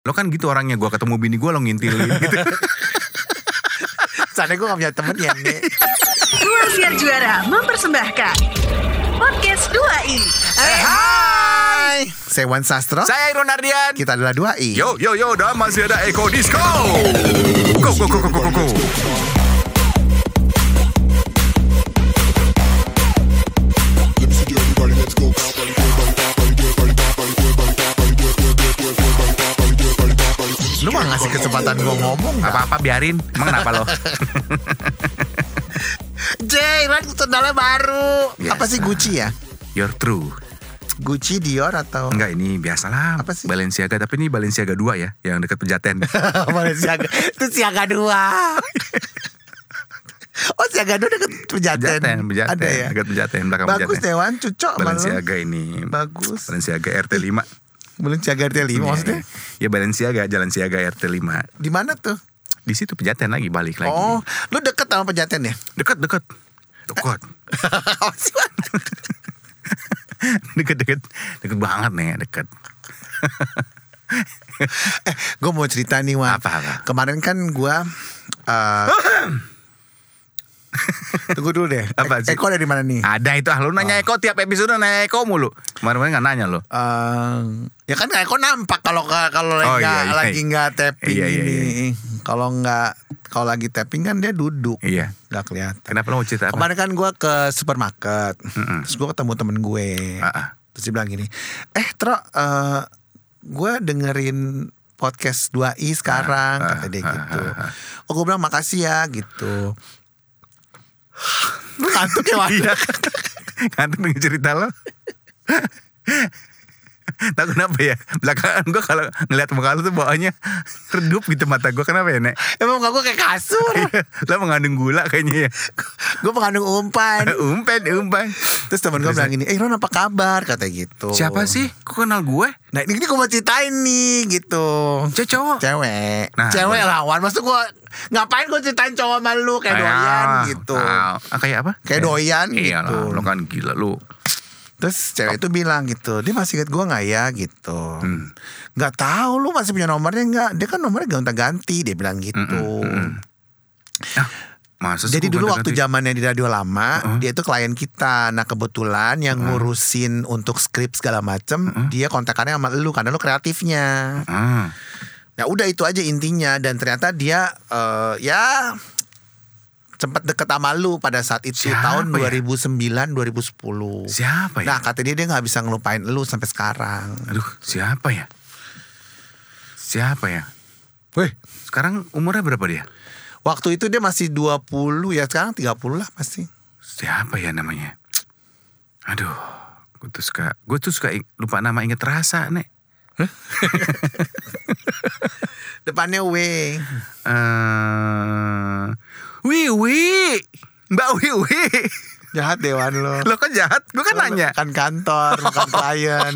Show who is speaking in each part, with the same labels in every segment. Speaker 1: Lo kan gitu orangnya, gua ketemu bini gua lo ngintilin gitu.
Speaker 2: Soalnya gue gak punya temen ya Nek.
Speaker 3: Ruang Juara mempersembahkan podcast 2 ini.
Speaker 2: Hai Saya Wan Sastro
Speaker 1: Saya Iron Ardian.
Speaker 2: Kita adalah dua i
Speaker 1: Yo yo yo, dan masih ada Eko Disco. Go go go go go go. go.
Speaker 2: Lu mah ngasih kesempatan gue ngomong gak?
Speaker 1: Apa-apa biarin. Emang kenapa lo?
Speaker 2: Jay, Ran sendalnya baru
Speaker 1: Biasa.
Speaker 2: Apa sih Gucci ya?
Speaker 1: You're true.
Speaker 2: Gucci, Dior atau
Speaker 1: Enggak ini biasalah.
Speaker 2: Apa sih?
Speaker 1: Balenciaga tapi ini Balenciaga 2 ya, yang dekat Pejaten.
Speaker 2: Mana siaga Itu siaga dua Oh siaga dua deket pejaten
Speaker 1: Pejaten, Pejaten.
Speaker 2: Ada ya?
Speaker 1: Dekat Pejaten belakang
Speaker 2: Bagus
Speaker 1: Pejaten.
Speaker 2: Dewan, cucok sama lu.
Speaker 1: Balenciaga ini.
Speaker 2: Bagus
Speaker 1: Balenciaga RT 5.
Speaker 2: Balenciaga RT5 maksudnya
Speaker 1: Ya, Balenciaga, Jalan Siaga RT 5.
Speaker 2: di mana tuh?
Speaker 1: Di situ Pejaten lagi balik lagi.
Speaker 2: Oh, lu deket sama pejaten ya?
Speaker 1: Dekat, dekat. Dekat.
Speaker 2: Apa sih, Wan?
Speaker 1: dekat, dekat. Dekat banget nih, dekat.
Speaker 2: Eh, gue mau cerita nih, Wan.
Speaker 1: Apa, apa?
Speaker 2: Kemarin kan gue... eh Tunggu dulu deh. Eh,
Speaker 1: Apa sih?
Speaker 2: Eko ada di mana nih?
Speaker 1: Ada itu ah lu nanya Eko tiap episode nanya Eko mulu. Kemarin-kemarin nggak nanya lo.
Speaker 2: Eh, ya kan Eko nampak kalau kalau
Speaker 1: Oh,
Speaker 2: lagi nggak
Speaker 1: iya, iya.
Speaker 2: lagi nggak tapping
Speaker 1: Iya, iya,
Speaker 2: ini. Kalau nggak kalau lagi tapping kan dia duduk.
Speaker 1: Iya.
Speaker 2: Nggak kelihatan.
Speaker 1: Kenapa lo mau cerita apa?
Speaker 2: Kemarin kan gue ke supermarket, terus gue ketemu temen gue,
Speaker 1: Ah, ah.
Speaker 2: terus dia bilang gini, eh Tro, eh, gue dengerin podcast 2i sekarang,
Speaker 1: Ah,
Speaker 2: kata dia
Speaker 1: ah,
Speaker 2: gitu.
Speaker 1: ah,
Speaker 2: Oh gue bilang makasih ya gitu. Lu ngantuk ya Wan?
Speaker 1: Iya. Ngantuk dengan cerita lo. Tahu kenapa ya? Belakangan gue kalau ngeliat muka lo tuh bawaannya redup gitu mata gue. Kenapa ya, Nek?
Speaker 2: Emang muka gue kayak kasur.
Speaker 1: lo mengandung gula kayaknya ya.
Speaker 2: gue mengandung umpan.
Speaker 1: umpen, umpen.
Speaker 2: Terus temen gue
Speaker 1: Terus,
Speaker 2: bilang gini, eh Ron apa kabar? Kata gitu.
Speaker 1: Siapa sih? Kok kenal gue?
Speaker 2: Nah ini, ini gue mau ceritain nih gitu.
Speaker 1: Cewek cowok.
Speaker 2: cewek
Speaker 1: Nah,
Speaker 2: cewek
Speaker 1: bener.
Speaker 2: lawan maksud gua ngapain gua ceritain cowok sama lu kayak doyan
Speaker 1: Ah,
Speaker 2: gitu
Speaker 1: ah, ah, kayak apa?
Speaker 2: Kayak doyan
Speaker 1: Iya
Speaker 2: gitu.
Speaker 1: lah, lo kan gila lo.
Speaker 2: terus cewek itu bilang gitu dia masih ingat gua nggak ya gitu
Speaker 1: Hmm.
Speaker 2: nggak tahu lu masih punya nomornya nggak dia kan nomornya gonta ganti dia
Speaker 1: Hmm,
Speaker 2: bilang gitu
Speaker 1: Masa sih gua
Speaker 2: Jadi
Speaker 1: Hmm.
Speaker 2: dulu
Speaker 1: ganti-
Speaker 2: waktu zamannya di radio lama, dia itu klien kita. Nah kebetulan yang
Speaker 1: Hmm.
Speaker 2: ngurusin untuk skrip segala macem, dia kontakannya sama lu karena lu kreatifnya.
Speaker 1: Ah,
Speaker 2: Nah udah itu aja intinya dan ternyata dia eh, ya sempat deket sama lu pada saat itu
Speaker 1: Siapa
Speaker 2: tahun
Speaker 1: ya?
Speaker 2: 2009 2010.
Speaker 1: siapa ya?
Speaker 2: Nah kata dia dia nggak bisa ngelupain lu sampai sekarang.
Speaker 1: Aduh, siapa ya? Siapa ya?
Speaker 2: Weh.
Speaker 1: Sekarang umurnya berapa dia?
Speaker 2: Waktu itu dia masih 20 ya sekarang 30 lah pasti.
Speaker 1: Siapa ya namanya? Aduh, gue tuh suka, gue tuh suka ing- lupa nama inget rasa, Nek.
Speaker 2: Depannya W.
Speaker 1: eh Wiwi, Mbak Wiwi.
Speaker 2: Jahat dewan lo.
Speaker 1: Lo kan jahat, gue kan nanya.
Speaker 2: Kan kantor, bukan klien.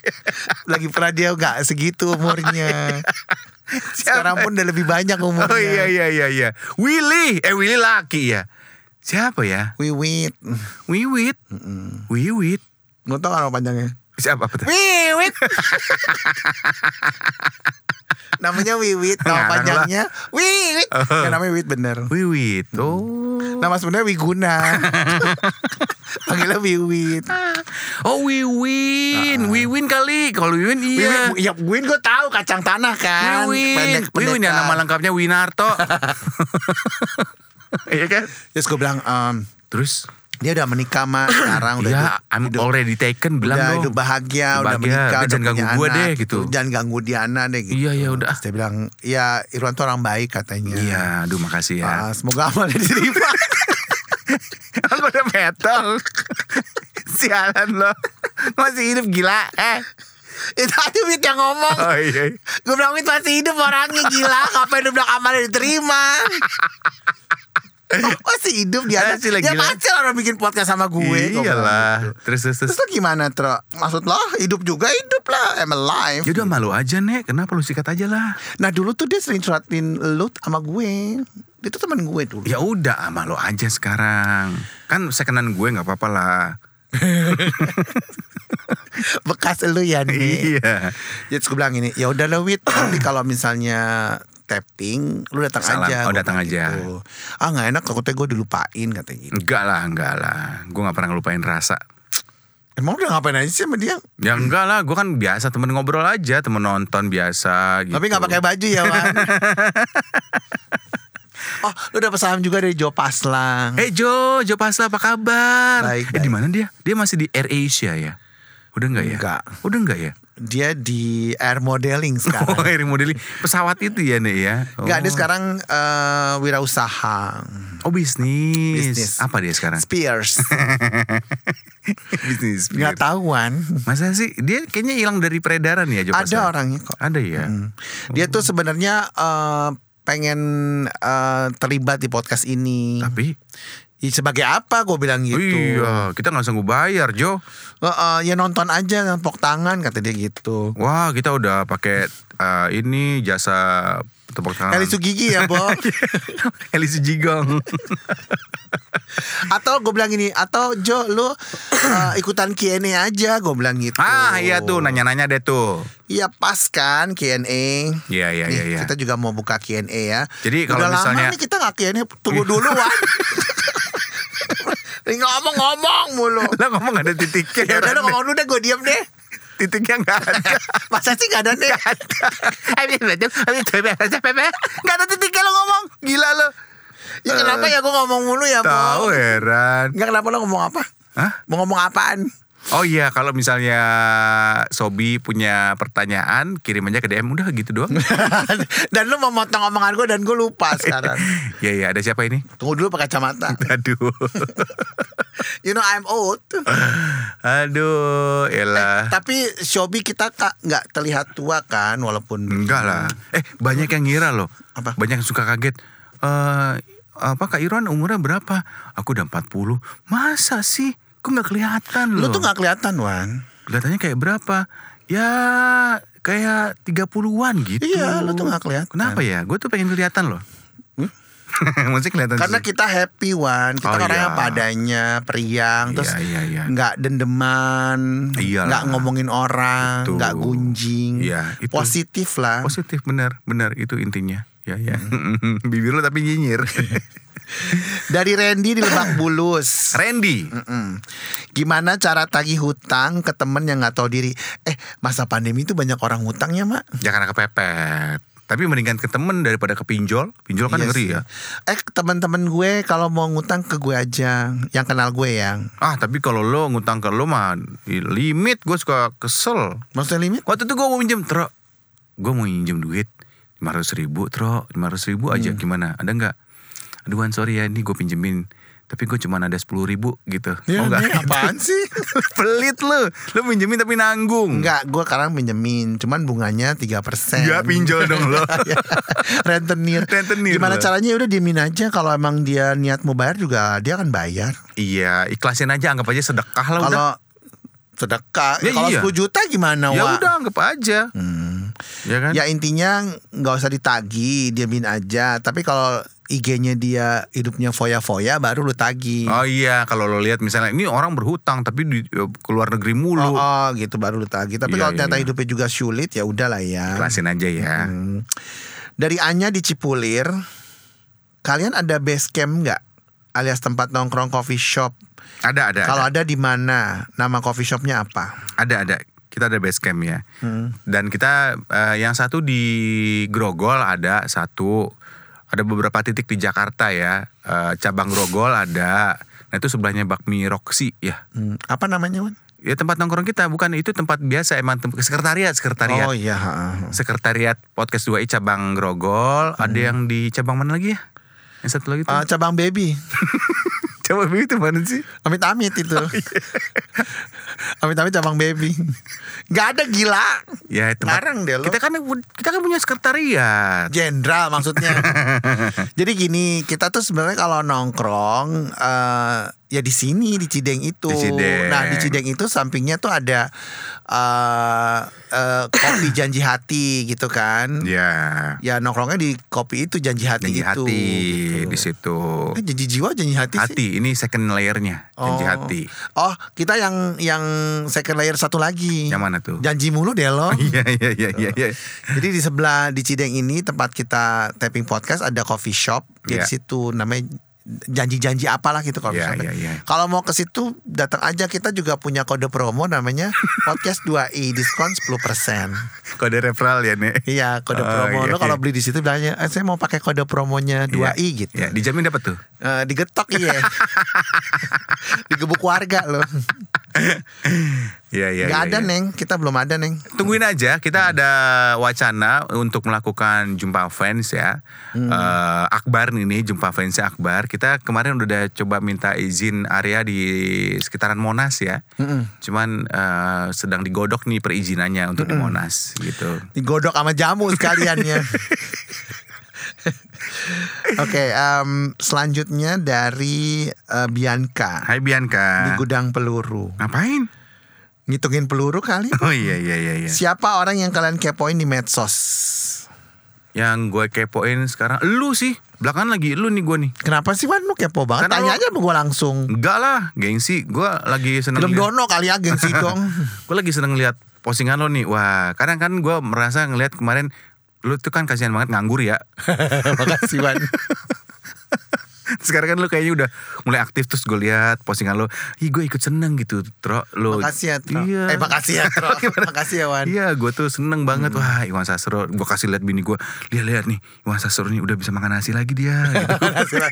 Speaker 2: Lagi pernah dia nggak segitu umurnya. Sekarang pun udah lebih banyak umurnya.
Speaker 1: Oh iya iya iya iya. Willy, eh Willy laki ya. Siapa ya?
Speaker 2: Wiwit.
Speaker 1: Wiwit. Wiwit.
Speaker 2: Nggak tau kan nama panjangnya.
Speaker 1: Siapa apa tuh?
Speaker 2: Wiwit. namanya Wiwit, nama
Speaker 1: Ngarang
Speaker 2: panjangnya Wiwit.
Speaker 1: Oh.
Speaker 2: Ya, namanya Wiwit bener.
Speaker 1: Wiwit. Oh.
Speaker 2: Nama sebenarnya Wiguna. Panggilnya Wiwit.
Speaker 1: Oh Wiwin, Wiwin kali. Kalau Wiwin iya.
Speaker 2: Wiwit, ya Wiwin gue tahu kacang tanah kan.
Speaker 1: Wiwin,
Speaker 2: Pendek-pendekan.
Speaker 1: Wiwin ya nama lengkapnya Winarto. Iya kan?
Speaker 2: Terus gue bilang, em,
Speaker 1: Terus
Speaker 2: dia udah menikah mah sekarang
Speaker 1: ya
Speaker 2: udah
Speaker 1: I'm already taken bilang
Speaker 2: udah
Speaker 1: dong.
Speaker 2: hidup bahagia,
Speaker 1: Hidup
Speaker 2: udah
Speaker 1: bahagia.
Speaker 2: menikah,
Speaker 1: Udah
Speaker 2: udah
Speaker 1: jangan
Speaker 2: punya
Speaker 1: ganggu gua
Speaker 2: anak,
Speaker 1: deh, gitu.
Speaker 2: Jangan ganggu Diana deh gitu.
Speaker 1: Iya, iya, udah.
Speaker 2: Terus dia bilang, ya Irwan tuh orang baik katanya.
Speaker 1: Iya, aduh makasih ya.
Speaker 2: Ah, semoga amalnya diterima.
Speaker 1: Aku udah metal. Sialan lo. Masih hidup gila. Eh.
Speaker 2: Itu aja Wit yang ngomong.
Speaker 1: Oh iya.
Speaker 2: Gue bilang Wit masih hidup orangnya gila. Ngapain lu bilang amalnya diterima? masih hidup dia.
Speaker 1: Eh, sih lagi
Speaker 2: dia
Speaker 1: gila.
Speaker 2: pacar orang bikin podcast sama gue. Gua bilang gitu.
Speaker 1: Iyalah. Terus terus terus.
Speaker 2: Terus lo gimana Tro? Maksud lo hidup juga hidup lah. I'm alive.
Speaker 1: Yaudah Ya malu aja Nek, kenapa lu sikat aja lah
Speaker 2: Nah dulu tuh dia sering curhatin lu sama gue.
Speaker 1: Iya.
Speaker 2: Dia tuh teman gue dulu.
Speaker 1: Ya udah sama lo aja sekarang Kan sekenan gue gak apa-apa lah
Speaker 2: bekas lu ya nih
Speaker 1: Iya.
Speaker 2: jadi terus gue bilang ini ya udah lah wit nanti kalau misalnya tapping lu datang
Speaker 1: Salam.
Speaker 2: aja
Speaker 1: Oh,
Speaker 2: Gua
Speaker 1: datang
Speaker 2: bilang
Speaker 1: aja.
Speaker 2: gitu. ah nggak enak takutnya gue dilupain katanya gitu
Speaker 1: Enggak lah, enggak lah. Gue nggak pernah ngelupain rasa.
Speaker 2: emang udah Eh, ngapain aja sih sama dia
Speaker 1: Ya enggak lah, gue kan biasa temen ngobrol aja, temen nonton biasa gitu.
Speaker 2: tapi nggak pakai baju ya Wan oh lu dapet saham juga dari Jo Paslang
Speaker 1: Eh Jo, Jo Pasla apa kabar?
Speaker 2: Baik,
Speaker 1: eh
Speaker 2: baik.
Speaker 1: di mana dia? Dia masih di Air Asia ya? Udah enggak ya?
Speaker 2: Enggak.
Speaker 1: Udah enggak ya?
Speaker 2: dia di air modeling sekarang
Speaker 1: Oh, Air modeling pesawat itu ya nih ya? Oh.
Speaker 2: Enggak, dia sekarang eh, wirausaha.
Speaker 1: Oh bisnis.
Speaker 2: Bisnis.
Speaker 1: Apa dia sekarang?
Speaker 2: Spears.
Speaker 1: Iya. bisnis.
Speaker 2: Enggak tahuan.
Speaker 1: Masa sih? Dia kayaknya hilang dari peredaran ya Jo
Speaker 2: Ada
Speaker 1: Pasla?
Speaker 2: orangnya kok.
Speaker 1: Ada ya?
Speaker 2: Hmm. Dia tuh sebenarnya eh, pengen eh, terlibat di podcast ini.
Speaker 1: Tapi
Speaker 2: Ya, sebagai apa gue bilang gitu.
Speaker 1: Iya, kita nggak sanggup bayar, Jo.
Speaker 2: Eh, eh, ya nonton aja tepuk tangan kata dia gitu.
Speaker 1: Wah, kita udah pakai eh, ini jasa tepuk tangan.
Speaker 2: Kali gigi ya, Bo.
Speaker 1: Elisu Jigong.
Speaker 2: atau gue bilang ini, atau Jo lu eh, ikutan Q&A aja, gue bilang gitu.
Speaker 1: ah, iya tuh nanya-nanya deh tuh.
Speaker 2: Iya pas kan Q&A.
Speaker 1: Iya, iya,
Speaker 2: Nih,
Speaker 1: iya, iya.
Speaker 2: Kita juga mau buka Q&A ya.
Speaker 1: Jadi kalau
Speaker 2: Udah
Speaker 1: misalnya-
Speaker 2: lama nih kita nggak Q&A, tunggu dulu Wan. Nih, ngomong-ngomong mulu.
Speaker 1: Lah ngomong nggak ada titiknya.
Speaker 2: Ya udah lu ngomong dulu deh, gue diem deh.
Speaker 1: titiknya nggak ada.
Speaker 2: Masa sih nggak ada nih?
Speaker 1: Nggak ada titiknya lo ngomong. Gila lo.
Speaker 2: Ya kenapa ya gue ngomong mulu ya,
Speaker 1: Eh. Tahu
Speaker 2: Bo?
Speaker 1: heran.
Speaker 2: Nggak kenapa lo ngomong apa?
Speaker 1: Hah?
Speaker 2: Mau ngomong apaan?
Speaker 1: Oh iya, kalau misalnya Sobi punya pertanyaan, kirim aja ke DM udah gitu doang.
Speaker 2: dan lu memotong omongan gue dan gue lupa sekarang.
Speaker 1: Iya, iya, ada siapa ini?
Speaker 2: Tunggu dulu pakai kacamata.
Speaker 1: Aduh.
Speaker 2: You know I'm old.
Speaker 1: Aduh, elah.
Speaker 2: Tapi Shobi kita tak nggak terlihat tua kan walaupun
Speaker 1: Enggak lah. Eh banyak yang ngira loh.
Speaker 2: Apa?
Speaker 1: Banyak yang suka kaget. Eh apa Kak Irwan umurnya berapa? Aku udah 40. Masa sih? Kok nggak kelihatan
Speaker 2: Lu
Speaker 1: loh?
Speaker 2: tuh nggak kelihatan Wan.
Speaker 1: Kelihatannya kayak berapa? Ya kayak 30-an gitu.
Speaker 2: Iya, lu tuh nggak kelihatan. Hmm?
Speaker 1: Kenapa ya? Gue tuh pengen kelihatan loh. Maksudnya kelihatan
Speaker 2: Karena
Speaker 1: sih.
Speaker 2: kita happy Wan, kita
Speaker 1: Oh,
Speaker 2: orangnya
Speaker 1: iya.
Speaker 2: padanya,
Speaker 1: Iya,
Speaker 2: periang, terus
Speaker 1: iya, iya.
Speaker 2: nggak dendeman,
Speaker 1: Iyalah.
Speaker 2: nggak ngomongin orang,
Speaker 1: Betul.
Speaker 2: nggak gunjing,
Speaker 1: Iya, itu.
Speaker 2: positif lah.
Speaker 1: Positif benar, benar itu intinya. Ya ya.
Speaker 2: Hmm.
Speaker 1: Bibir lo tapi nyinyir.
Speaker 2: Dari Randy di Lebak Bulus.
Speaker 1: Randy.
Speaker 2: Mm. Gimana cara tagih hutang ke temen yang nggak tahu diri? Eh, masa pandemi itu banyak orang hutangnya, Mak.
Speaker 1: Jangan kepepet. Tapi mendingan ke temen daripada ke pinjol. Pinjol kan
Speaker 2: Iya
Speaker 1: ngeri
Speaker 2: sih.
Speaker 1: ya.
Speaker 2: Eh, teman-teman gue kalau mau ngutang ke gue aja, yang kenal gue ya. yang.
Speaker 1: Ah tapi kalau lo ngutang ke lo mah limit gue suka kesel.
Speaker 2: Maksudnya limit?
Speaker 1: Waktu itu gue mau minjem tro, gue mau minjem duit lima ribu tro, lima ribu
Speaker 2: Hmm.
Speaker 1: aja gimana? Ada nggak? Aduan sorry ya ini gue pinjemin tapi gue cuma ada sepuluh ribu gitu.
Speaker 2: Ya,
Speaker 1: Mau nggak?
Speaker 2: ini apaan sih?
Speaker 1: Pelit lo, lo minjemin tapi nanggung.
Speaker 2: Enggak, gue sekarang minjemin, cuman bunganya 3%
Speaker 1: Ya pinjol dong lo.
Speaker 2: rentenir.
Speaker 1: Rentenir
Speaker 2: Gimana
Speaker 1: lo.
Speaker 2: caranya? Ya Udah diemin aja. Kalau emang dia niat mau bayar juga dia akan bayar.
Speaker 1: iya ikhlasin aja anggap aja sedekah lah udah.
Speaker 2: Kalau sedekah,
Speaker 1: Ya,
Speaker 2: ya, kalau
Speaker 1: iya.
Speaker 2: 10 juta gimana?
Speaker 1: Ya
Speaker 2: Wak?
Speaker 1: udah anggap aja.
Speaker 2: Hmm.
Speaker 1: Ya kan?
Speaker 2: Ya intinya nggak usah ditagi, diemin aja. Tapi kalau IG-nya dia hidupnya foya-foya, baru lu tagi.
Speaker 1: Oh iya, kalau lo lihat misalnya ini orang berhutang tapi di eh, ke luar negeri
Speaker 2: Oh,
Speaker 1: mulu.
Speaker 2: oh, gitu baru lu tagi.
Speaker 1: Iya,
Speaker 2: Tapi kalau
Speaker 1: iya,
Speaker 2: ternyata
Speaker 1: iya.
Speaker 2: hidupnya juga sulit, ya udahlah ya.
Speaker 1: Ikhlasin aja ya.
Speaker 2: Hmm. Dari Anya di Cipulir, kalian ada base camp nggak? Alias tempat nongkrong coffee shop.
Speaker 1: Ada ada.
Speaker 2: Kalau
Speaker 1: ada.
Speaker 2: ada di mana? Nama coffee shopnya apa?
Speaker 1: ada ada. Kita ada base camp ya.
Speaker 2: Hmm.
Speaker 1: Dan kita eh, yang satu di Grogol ada satu. Ada beberapa titik di Jakarta ya. Eh, cabang Grogol ada. Nah itu sebelahnya bakmi Roxy ya.
Speaker 2: Hmm, Apa namanya Wan?
Speaker 1: Ya tempat nongkrong kita bukan itu tempat biasa emang tem- sekretariat sekretariat.
Speaker 2: Oh iya. ha, ha.
Speaker 1: Sekretariat Podcast 2i cabang Grogol, ada
Speaker 2: Hmm.
Speaker 1: yang di cabang mana lagi ya? Yang satu lagi tuh.
Speaker 2: Eh, cabang baby.
Speaker 1: Coba Bibi itu mana sih?
Speaker 2: Amit-amit itu.
Speaker 1: Oh, iya.
Speaker 2: Amit-amit cabang baby. Gak ada gila.
Speaker 1: Ya tempat
Speaker 2: Ngarang deh lo.
Speaker 1: Kita kan kita kan punya sekretariat.
Speaker 2: Jenderal maksudnya. Jadi gini, kita tuh sebenarnya kalau nongkrong eh ya di sini di Cideng itu.
Speaker 1: Di Cideng.
Speaker 2: Nah di Cideng itu sampingnya tuh ada eh eh, kopi janji hati gitu kan.
Speaker 1: Ya.
Speaker 2: Ya nongkrongnya di kopi itu janji hati
Speaker 1: Janji
Speaker 2: itu.
Speaker 1: hati
Speaker 2: gitu.
Speaker 1: di situ.
Speaker 2: Eh, janji jiwa janji hati. sih?
Speaker 1: Hati ini second layernya janji hati.
Speaker 2: Oh, kita yang yang second layer satu lagi.
Speaker 1: Yang mana tuh?
Speaker 2: Janji mulu deh lo.
Speaker 1: Iya iya iya iya.
Speaker 2: Gitu.
Speaker 1: iya.
Speaker 2: Jadi di sebelah di Cideng ini tempat kita taping podcast ada coffee shop. Jadi
Speaker 1: Iya.
Speaker 2: situ namanya janji-janji apalah gitu coffee
Speaker 1: Iya,
Speaker 2: shop.
Speaker 1: iya, iya.
Speaker 2: Kalau mau ke situ datang aja kita juga punya kode promo namanya podcast 2i diskon 10%.
Speaker 1: Kode referral ya nih.
Speaker 2: Iya, kode
Speaker 1: Oh,
Speaker 2: promo.
Speaker 1: iya,
Speaker 2: Lo kalau
Speaker 1: iya.
Speaker 2: beli di situ bilangnya, eh, saya mau pakai kode promonya 2i gitu.
Speaker 1: Ya, dijamin dapat tuh.
Speaker 2: Eh, digetok iya. Digebuk warga loh.
Speaker 1: Iya iya.
Speaker 2: Gak
Speaker 1: iya,
Speaker 2: ada,
Speaker 1: iya.
Speaker 2: Neng. Kita belum ada, Neng.
Speaker 1: Tungguin aja, kita ada wacana untuk melakukan jumpa fans ya.
Speaker 2: Hmm.
Speaker 1: Eh, Akbar ini jumpa fansnya Akbar. Kita kemarin udah coba minta izin area di sekitaran Monas ya.
Speaker 2: Hmm.
Speaker 1: Cuman eh, sedang digodok nih perizinannya untuk
Speaker 2: Hmm.
Speaker 1: di Monas gitu.
Speaker 2: Digodok sama jamu ya. sekaliannya. Oke, em, selanjutnya dari eh, Bianca
Speaker 1: Hai
Speaker 2: di
Speaker 1: Bianca.
Speaker 2: gudang peluru.
Speaker 1: Ngapain?
Speaker 2: Ngitungin peluru kali.
Speaker 1: Oh iya iya iya. iya.
Speaker 2: Siapa orang yang kalian kepoin di medsos?
Speaker 1: Yang gue kepoin sekarang, lu sih. Belakangan lagi lu nih gue nih.
Speaker 2: Kenapa sih Wan lu kepo banget?
Speaker 1: Karena
Speaker 2: Tanya
Speaker 1: lu-
Speaker 2: aja sama gue langsung.
Speaker 1: Enggak lah, gengsi. Gue lagi seneng.
Speaker 2: Film
Speaker 1: liat-
Speaker 2: dono kali ya gengsi dong.
Speaker 1: gue lagi seneng lihat postingan lo nih wah kadang kan gue merasa ngelihat kemarin lu tuh kan kasihan banget nganggur ya
Speaker 2: Makasih Wan.
Speaker 1: sekarang kan lu kayaknya udah mulai aktif terus gue lihat postingan lo ih gue ikut seneng gitu tro lo
Speaker 2: Makasih ya, Tro.
Speaker 1: iya
Speaker 2: Eh, makasih ya, Tro.
Speaker 1: Gimana?
Speaker 2: Makasih ya, Wan. Hmm.
Speaker 1: iya gue tuh seneng banget wah Iwan Sastro gue kasih lihat bini gue lihat lihat nih Iwan Sastro nih udah bisa makan nasi lagi dia gitu.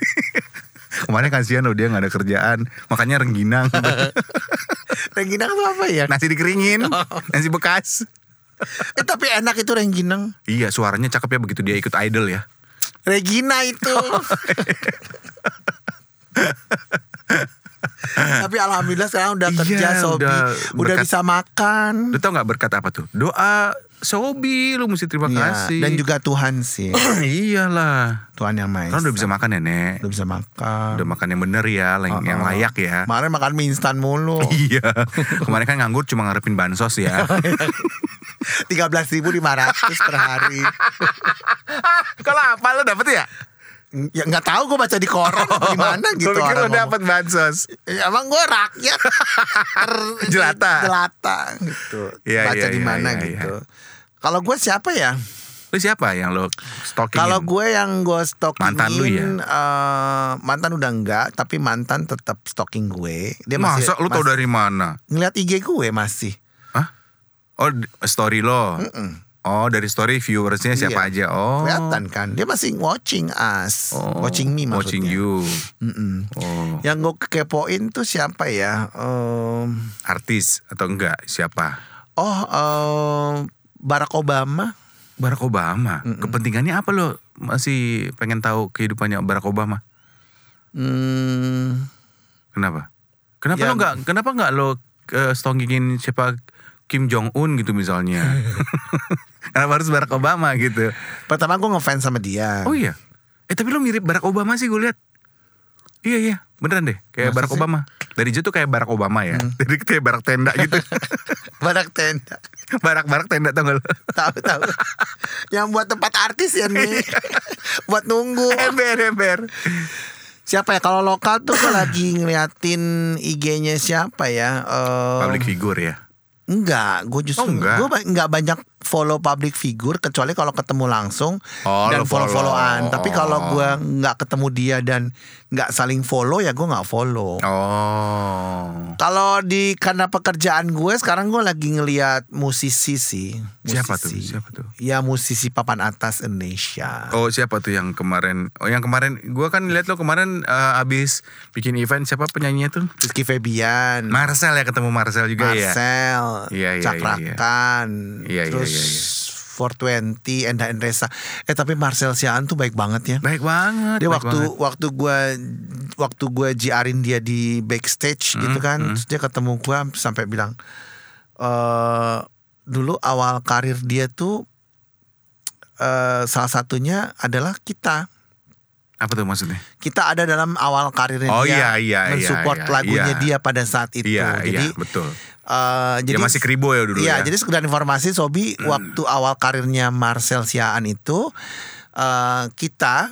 Speaker 1: kemarin kasihan lo dia nggak ada kerjaan makanya rengginang
Speaker 2: Rengginang tuh apa ya?
Speaker 1: nasi dikeringin nasi bekas
Speaker 2: Eh, tapi enak itu Rengginang.
Speaker 1: iya suaranya cakep ya begitu dia ikut idol ya
Speaker 2: Regina itu.
Speaker 1: Oh,
Speaker 2: Tapi alhamdulillah sekarang udah
Speaker 1: Iya,
Speaker 2: kerja Sobi,
Speaker 1: udah
Speaker 2: udah,
Speaker 1: berkat-
Speaker 2: bisa makan.
Speaker 1: Lu tau gak berkat apa tuh? Doa Sobi lu mesti terima
Speaker 2: Iya,
Speaker 1: kasih.
Speaker 2: dan juga Tuhan sih,
Speaker 1: iyalah.
Speaker 2: Tuhan yang maha.
Speaker 1: Kan udah
Speaker 2: Esa.
Speaker 1: bisa makan ya, Nek.
Speaker 2: udah bisa makan.
Speaker 1: Udah makan yang bener ya,
Speaker 2: Oh,
Speaker 1: yang, yang layak ya.
Speaker 2: Kemarin makan mie instan mulu.
Speaker 1: Iya. Kemarin kan nganggur cuma ngarepin bansos ya.
Speaker 2: 13.500 per hari.
Speaker 1: Kalau apa lu dapet ya?
Speaker 2: Ya nggak tahu gue baca di koran di mana gitu
Speaker 1: Gua pikir lu
Speaker 2: orang ngomong.
Speaker 1: dapet bansos.
Speaker 2: Ya, Emang gue rakyat ter-
Speaker 1: Jelata.
Speaker 2: jelata gitu.
Speaker 1: Iya,
Speaker 2: baca
Speaker 1: iya,
Speaker 2: di
Speaker 1: iya,
Speaker 2: mana
Speaker 1: iya,
Speaker 2: gitu. Kalau gue siapa ya?
Speaker 1: Lu siapa yang lu stalking?
Speaker 2: Kalau gue yang gue stalkingin
Speaker 1: Mantan lu ya?
Speaker 2: eh, mantan udah enggak, tapi mantan tetap stalking gue. Dia masih
Speaker 1: Masa lu tau
Speaker 2: masih-
Speaker 1: dari mana?
Speaker 2: ngeliat IG gue masih.
Speaker 1: Hah? Oh, di- story lo. Oh, dari story viewersnya siapa aja?
Speaker 2: Iya.
Speaker 1: Oh.
Speaker 2: Kelihatan kan? Dia masih watching us,
Speaker 1: Oh.
Speaker 2: watching me maksudnya.
Speaker 1: Watching you.
Speaker 2: Mm-mm.
Speaker 1: Oh.
Speaker 2: Yang gue kepoin tuh siapa ya? Em,
Speaker 1: Artis atau enggak? Siapa?
Speaker 2: oh, em, Barack Obama.
Speaker 1: Barack Obama. Kepentingannya apa lo masih pengen tahu kehidupannya Barack Obama?
Speaker 2: Hmm,
Speaker 1: Kenapa? Kenapa
Speaker 2: Ya.
Speaker 1: lo nggak? Kenapa nggak lo eh, stalkingin siapa Kim Jong Un gitu misalnya? Kenapa harus Barack Obama gitu?
Speaker 2: pertama gue ngefans sama dia.
Speaker 1: Oh iya. Eh tapi lo mirip Barack Obama sih gue lihat. Iya iya, beneran deh. Kayak
Speaker 2: Masa
Speaker 1: Barack
Speaker 2: sih? Hmm.
Speaker 1: Obama. Dari jauh tuh kayak Barack Obama ya. Dari kayak Barack tenda gitu.
Speaker 2: Barack tenda.
Speaker 1: Barak-barak tenda tau gak lo?
Speaker 2: Tahu tahu. Yang buat tempat artis ya nih. buat nunggu.
Speaker 1: Ember ember.
Speaker 2: Siapa ya kalau lokal tuh gue lagi ngeliatin IG-nya siapa ya? Eh,
Speaker 1: Public figure ya.
Speaker 2: enggak, gue justru
Speaker 1: Oh, enggak.
Speaker 2: gue ba- enggak banyak follow public figure kecuali kalau ketemu langsung
Speaker 1: Oh,
Speaker 2: dan
Speaker 1: lu follow. Oh.
Speaker 2: follow-followan. Tapi kalau gue nggak ketemu dia dan nggak saling follow ya gue nggak follow.
Speaker 1: Oh.
Speaker 2: Kalau di karena pekerjaan gue sekarang gue lagi ngeliat musisi sih.
Speaker 1: Siapa tuh?
Speaker 2: Musisi.
Speaker 1: Siapa tuh?
Speaker 2: Ya musisi papan atas Indonesia.
Speaker 1: Oh siapa tuh yang kemarin? Oh yang kemarin, gua kan lihat lo kemarin eh, abis bikin event siapa penyanyinya tuh?
Speaker 2: Rizky Febian,
Speaker 1: Marcel ya ketemu Marcel juga ya.
Speaker 2: Marcel,
Speaker 1: Iya, iya, iya,
Speaker 2: Cakrakan,
Speaker 1: iya. Iya, iya,
Speaker 2: terus
Speaker 1: iya, iya.
Speaker 2: 420, Enda Endresa. Eh tapi Marcel Siaan tuh baik banget ya.
Speaker 1: Baik banget.
Speaker 2: Dia
Speaker 1: baik
Speaker 2: waktu
Speaker 1: banget.
Speaker 2: waktu gue waktu gue jiarin dia di backstage
Speaker 1: Hmm,
Speaker 2: gitu kan, terus dia ketemu gue sampai bilang, eh dulu awal karir dia tuh eh salah satunya adalah kita
Speaker 1: Apa tuh maksudnya?
Speaker 2: Kita ada dalam awal karirnya
Speaker 1: Oh, iya, iya,
Speaker 2: dia,
Speaker 1: iya,
Speaker 2: mensupport
Speaker 1: iya,
Speaker 2: lagunya
Speaker 1: iya.
Speaker 2: dia pada saat itu.
Speaker 1: Iya,
Speaker 2: Gitu, jadi
Speaker 1: iya, betul.
Speaker 2: eh, jadi
Speaker 1: ya masih kribo ya dulu
Speaker 2: Iya,
Speaker 1: ya. Hmm.
Speaker 2: jadi sekedar informasi Sobi waktu awal karirnya Marcel Siaan itu eh kita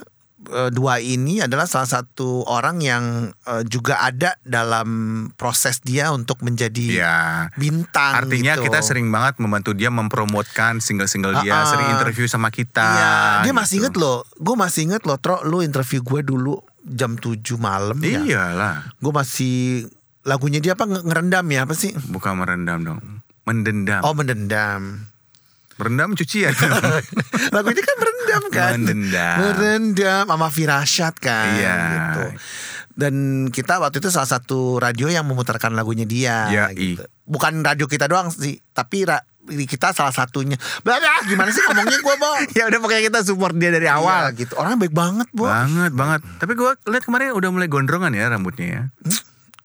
Speaker 2: eh, dua ini adalah salah satu orang yang eh, juga ada dalam proses dia untuk menjadi
Speaker 1: Iya.
Speaker 2: bintang
Speaker 1: Artinya
Speaker 2: gitu.
Speaker 1: kita sering banget membantu dia mempromotkan single-single dia,
Speaker 2: Ah, ah.
Speaker 1: sering interview sama kita.
Speaker 2: Iya, dia masih
Speaker 1: gitu.
Speaker 2: inget loh. Gue masih inget loh, Tro, lu interview gue dulu jam 7 malam
Speaker 1: Iya.
Speaker 2: ya.
Speaker 1: Iyalah,
Speaker 2: Gue masih lagunya dia apa nge- ngerendam ya apa sih?
Speaker 1: bukan merendam dong, mendendam.
Speaker 2: Oh, mendendam.
Speaker 1: Merendam cucian.
Speaker 2: Lagunya kan merendam kan
Speaker 1: Mendendam.
Speaker 2: Merendam sama Firashat kan
Speaker 1: Iya.
Speaker 2: gitu. Dan kita waktu itu salah satu radio yang memutarkan lagunya dia
Speaker 1: Yai.
Speaker 2: gitu. Bukan radio kita doang sih Tapi ra- kita salah satunya Bah, gimana sih ngomongnya gue Bo
Speaker 1: ya udah pokoknya kita support dia dari awal.
Speaker 2: Iya, gitu Orang baik banget Bo
Speaker 1: Banget banget. Tapi gua lihat kemarin udah mulai gondrongan ya rambutnya ya.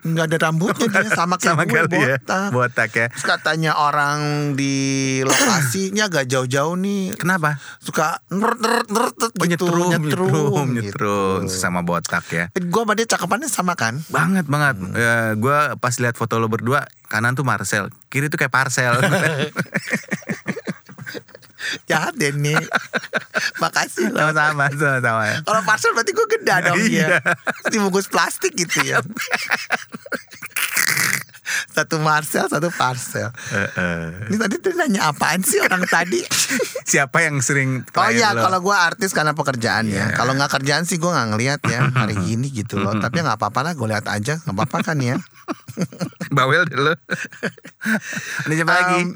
Speaker 2: nggak ada rambutnya dia sama kayak
Speaker 1: Sama
Speaker 2: gue
Speaker 1: kali ya.
Speaker 2: Iya, botak.
Speaker 1: Botak ya.
Speaker 2: Terus katanya orang di lokasinya agak jauh-jauh nih
Speaker 1: Kenapa?
Speaker 2: suka neret neret neret
Speaker 1: Oh,
Speaker 2: neret gitu
Speaker 1: nyetrum,
Speaker 2: nyetrum,
Speaker 1: nyetrum,
Speaker 2: gitu.
Speaker 1: nyetrum. sama botak ya.
Speaker 2: Eh, Gua sama dia cakapannya sama kan?
Speaker 1: Banget banget. Ya, gua pas lihat foto lo berdua, kanan tuh Marcel, kiri tuh kayak parcel.
Speaker 2: Jahat deh Ya nih. Makasih loh.
Speaker 1: sama-sama, sama-sama. ya.
Speaker 2: Kalau parcel berarti gue geda dong
Speaker 1: Iya.
Speaker 2: ya. Dibungkus plastik gitu ya. satu Marcel, satu parcel.
Speaker 1: Eh, eh.
Speaker 2: Ini tadi tuh nanya apaan sih orang tadi?
Speaker 1: Siapa yang sering
Speaker 2: Oh
Speaker 1: klien
Speaker 2: iya,
Speaker 1: lo?
Speaker 2: kalau gue artis karena pekerjaan
Speaker 1: Iya.
Speaker 2: ya. Kalau nggak kerjaan sih gue nggak ngeliat ya hari gini gitu loh. Tapi nggak apa-apa lah, gue lihat aja, nggak apa-apa kan ya.
Speaker 1: bawel deh lo. Ada siapa lagi?
Speaker 2: Em,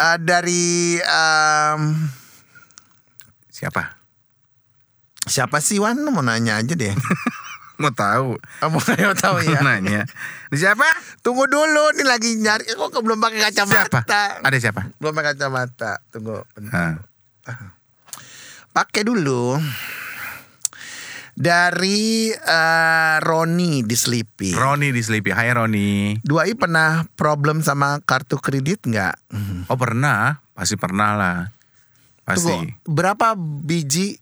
Speaker 2: eh, dari em,
Speaker 1: Siapa?
Speaker 2: siapa sih Wan? Mau nanya aja deh.
Speaker 1: Mau tahu?
Speaker 2: Kamu mau tahu ya?
Speaker 1: Nanya. Ada siapa?
Speaker 2: Tunggu dulu, ini lagi nyari. Eh, Kok belum pakai
Speaker 1: Siapa?
Speaker 2: kacamata?
Speaker 1: Ada siapa?
Speaker 2: Belum pakai kacamata. Tunggu.
Speaker 1: Ah.
Speaker 2: Nah. Pakai dulu. Dari eh, Roni di Sleepy.
Speaker 1: Roni di Sleepy. Hai Roni.
Speaker 2: Dua i pernah problem sama kartu kredit nggak?
Speaker 1: Oh pernah, pasti pernah lah. Pasti.
Speaker 2: Tunggu, berapa biji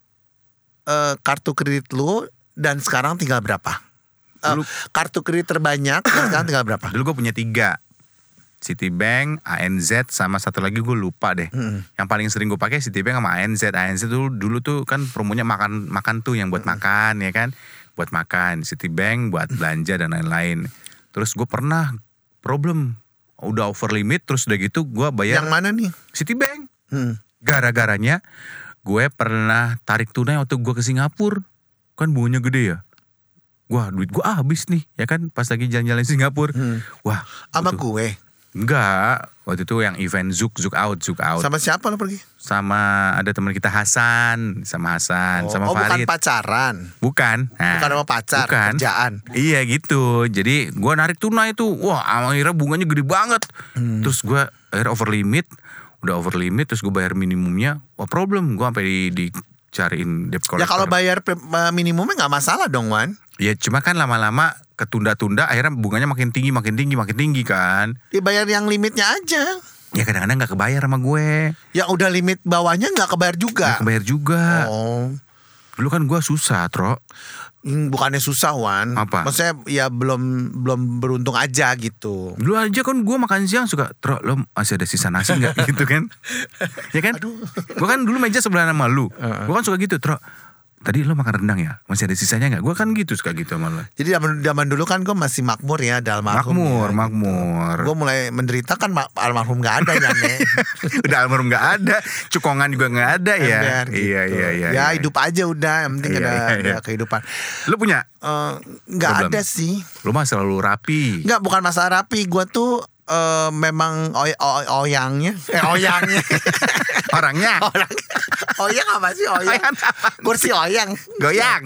Speaker 2: eh, kartu kredit lu dan sekarang tinggal berapa? Eh,
Speaker 1: Dulu-
Speaker 2: kartu kredit terbanyak dan sekarang tinggal berapa?
Speaker 1: Dulu gue punya tiga. Citibank, ANZ, sama satu lagi gue lupa deh. Yang paling sering gue pakai Citibank sama ANZ. ANZ dulu, dulu tuh kan promonya makan makan tuh yang buat makan ya kan, buat makan. Citibank buat belanja dan lain-lain. Terus gue pernah problem udah over limit terus udah gitu gue bayar
Speaker 2: Yang mana nih?
Speaker 1: Citibank.
Speaker 2: Hmm.
Speaker 1: Gara-garanya gue pernah tarik tunai waktu gue ke Singapura. Kan bunganya gede ya. Wah duit gue habis nih ya kan pas lagi jalan-jalan di Singapura. Wah
Speaker 2: Hmm. Sama
Speaker 1: waktu-
Speaker 2: gue.
Speaker 1: Enggak. Waktu itu yang event Zook, Zook Out, Zook Out. Sama,
Speaker 2: Sama siapa lo pergi?
Speaker 1: ada teman kita Hasan. Sama Hasan.
Speaker 2: Oh,
Speaker 1: sama
Speaker 2: oh, bukan
Speaker 1: Farid.
Speaker 2: pacaran.
Speaker 1: Bukan. Nah,
Speaker 2: Bukan sama pacar,
Speaker 1: bukan.
Speaker 2: kerjaan.
Speaker 1: Iya gitu. Jadi gua narik tunai tuh. Wah, akhirnya bunganya gede banget.
Speaker 2: Hmm.
Speaker 1: Terus gua akhirnya over limit, udah over limit terus gue bayar minimumnya. Wah, problem. Gua sampai di, dicariin debt collector.
Speaker 2: Ya kalau bayar pre- eh, minimumnya nggak masalah dong Wan.
Speaker 1: Ya cuma kan lama-lama ketunda-tunda akhirnya bunganya makin tinggi, makin tinggi, makin tinggi kan.
Speaker 2: Dibayar Ya, yang limitnya aja.
Speaker 1: Ya kadang-kadang nggak kebayar sama gue.
Speaker 2: Yang udah limit bawahnya nggak kebayar juga.
Speaker 1: Nggak kebayar juga.
Speaker 2: Oh,
Speaker 1: Dulu kan gua susah, Tro.
Speaker 2: Hmm, bukannya susah Wan?
Speaker 1: Apa?
Speaker 2: Maksudnya ya belum belum beruntung aja gitu.
Speaker 1: Dulu aja kan gue makan siang suka Tro lo masih ada sisa nasi gak gitu kan Ya kan Gue kan dulu meja sebelah sama lu Gue kan suka gitu Tro Tadi lo makan rendang ya Masih ada sisanya gak Gue kan gitu suka gitu sama lo
Speaker 2: Jadi zaman, zaman dulu kan gue masih makmur ya dalam
Speaker 1: Makmur Makmur
Speaker 2: Gue mulai menderita kan ma- almarhum gak ada ya Nek.
Speaker 1: Udah almarhum gak ada Cukongan juga gak ada ya
Speaker 2: Ember gitu.
Speaker 1: Iya iya iya
Speaker 2: Ya
Speaker 1: iya.
Speaker 2: hidup aja udah yang penting
Speaker 1: Iya,
Speaker 2: ada,
Speaker 1: iya, iya.
Speaker 2: ada kehidupan.
Speaker 1: Lo punya
Speaker 2: Eh,
Speaker 1: Problem.
Speaker 2: Nggak ada sih.
Speaker 1: Lo mah selalu rapi
Speaker 2: Enggak bukan masalah rapi Gue tuh eh, memang oy, oy, oyangnya Eh oyangnya
Speaker 1: Orangnya
Speaker 2: Orang Oyang apa sih oyang
Speaker 1: Oyang apa
Speaker 2: Kursi oyang
Speaker 1: Goyang.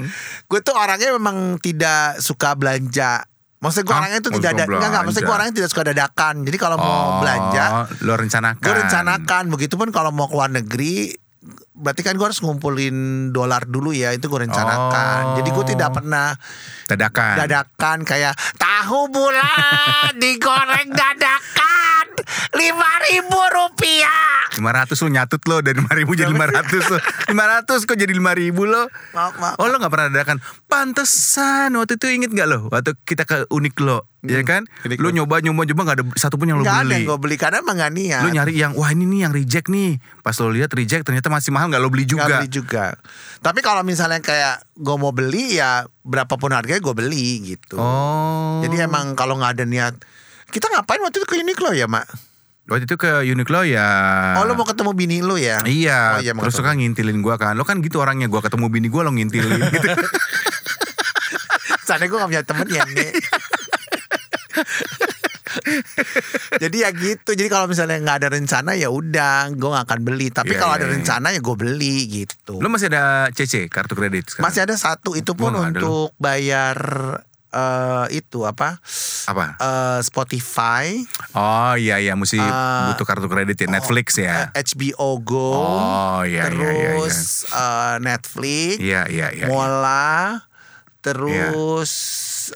Speaker 2: Gue tuh orangnya memang tidak suka belanja Maksudnya gue
Speaker 1: Hah?
Speaker 2: orangnya tuh
Speaker 1: Nggak
Speaker 2: tidak
Speaker 1: suka
Speaker 2: ada Enggak enggak Maksudnya gue
Speaker 1: belanja. Oh.
Speaker 2: orangnya tidak suka dadakan Jadi kalau mau belanja
Speaker 1: Lo rencanakan
Speaker 2: Gue rencanakan Begitupun kalau mau keluar negeri Berarti kan gue harus ngumpulin dolar dulu ya Itu gue rencanakan
Speaker 1: Oh. Kan.
Speaker 2: Jadi gue tidak pernah
Speaker 1: Dadakan
Speaker 2: dadakan kayak tahu bulat digoreng dadakan lima ribu rupiah.
Speaker 1: 500 lu nyatut lo dari 5000 jadi 500 lo. 500 kok jadi 5000 lo.
Speaker 2: Maaf, maaf.
Speaker 1: Oh lo gak pernah dadakan. Pantesan waktu itu inget gak lo? Waktu kita ke unik lo. Ya kan?
Speaker 2: Hmm, Uniqlo.
Speaker 1: Lo nyoba nyoba nyoba gak ada satupun yang lo
Speaker 2: Nggak ada yang
Speaker 1: beli.
Speaker 2: gue beli karena emang nggak niat.
Speaker 1: Lo nyari yang wah ini nih yang reject nih. Pas lo lihat reject ternyata masih mahal gak lo beli
Speaker 2: Nggak
Speaker 1: juga.
Speaker 2: beli juga. Tapi kalau misalnya kayak gue mau beli ya berapapun harganya gue beli gitu.
Speaker 1: Oh.
Speaker 2: Jadi emang kalau nggak ada niat kita ngapain waktu itu ke Uniqlo ya mak?
Speaker 1: waktu itu ke Uniqlo ya.
Speaker 2: Oh lo mau ketemu bini lo ya?
Speaker 1: Iya,
Speaker 2: Oh, iya mau
Speaker 1: terus lo
Speaker 2: ketemu.
Speaker 1: kan ngintilin gua kan. Lo kan gitu orangnya gua ketemu bini gua lo ngintilin gitu.
Speaker 2: Soalnya gue gak punya temen ya Nek. Jadi ya gitu. Jadi kalau misalnya nggak ada rencana ya udah, gue gak akan beli. Tapi
Speaker 1: Iya,
Speaker 2: kalau
Speaker 1: iya,
Speaker 2: ada
Speaker 1: iya.
Speaker 2: rencana ya gue beli gitu.
Speaker 1: Lo masih ada CC kartu kredit sekarang?
Speaker 2: Masih ada satu itu
Speaker 1: Gua
Speaker 2: pun
Speaker 1: nggak ada
Speaker 2: untuk bayar eh, itu apa?
Speaker 1: apa?
Speaker 2: Eh, Spotify,
Speaker 1: Oh iya iya mesti
Speaker 2: Eh,
Speaker 1: butuh kartu kredit ya Netflix ya.
Speaker 2: eh, HBO Go,
Speaker 1: Oh, iya, iya, iya, iya.
Speaker 2: terus eh, Netflix,
Speaker 1: Iya iya iya. iya.
Speaker 2: Mola, terus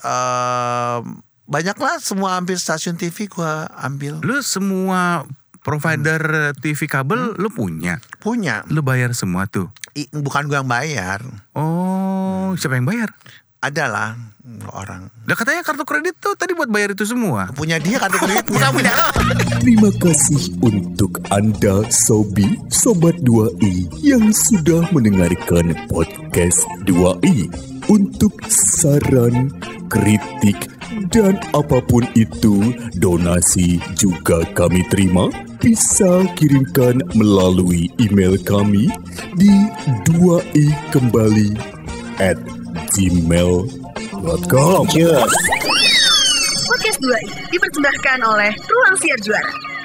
Speaker 2: em, banyaklah semua hampir stasiun TV gua ambil
Speaker 1: Lu semua provider TV kabel lu punya.
Speaker 2: punya.
Speaker 1: Lu bayar semua tuh.
Speaker 2: I- bukan gua yang bayar,
Speaker 1: Oh, siapa yang bayar?
Speaker 2: adalah orang
Speaker 1: Lah katanya kartu kredit tuh tadi buat bayar itu semua.
Speaker 2: punya dia kartu kreditnya. bukan punya
Speaker 4: Terima kasih untuk Anda Sobi Sobat 2i yang sudah mendengarkan podcast 2i. Untuk saran, kritik, dan apapun itu, donasi juga kami terima. Bisa kirimkan melalui email kami di 2i kembali at gmail.com.
Speaker 3: Podcast 2i dipersembahkan oleh Ruang Siar Juara.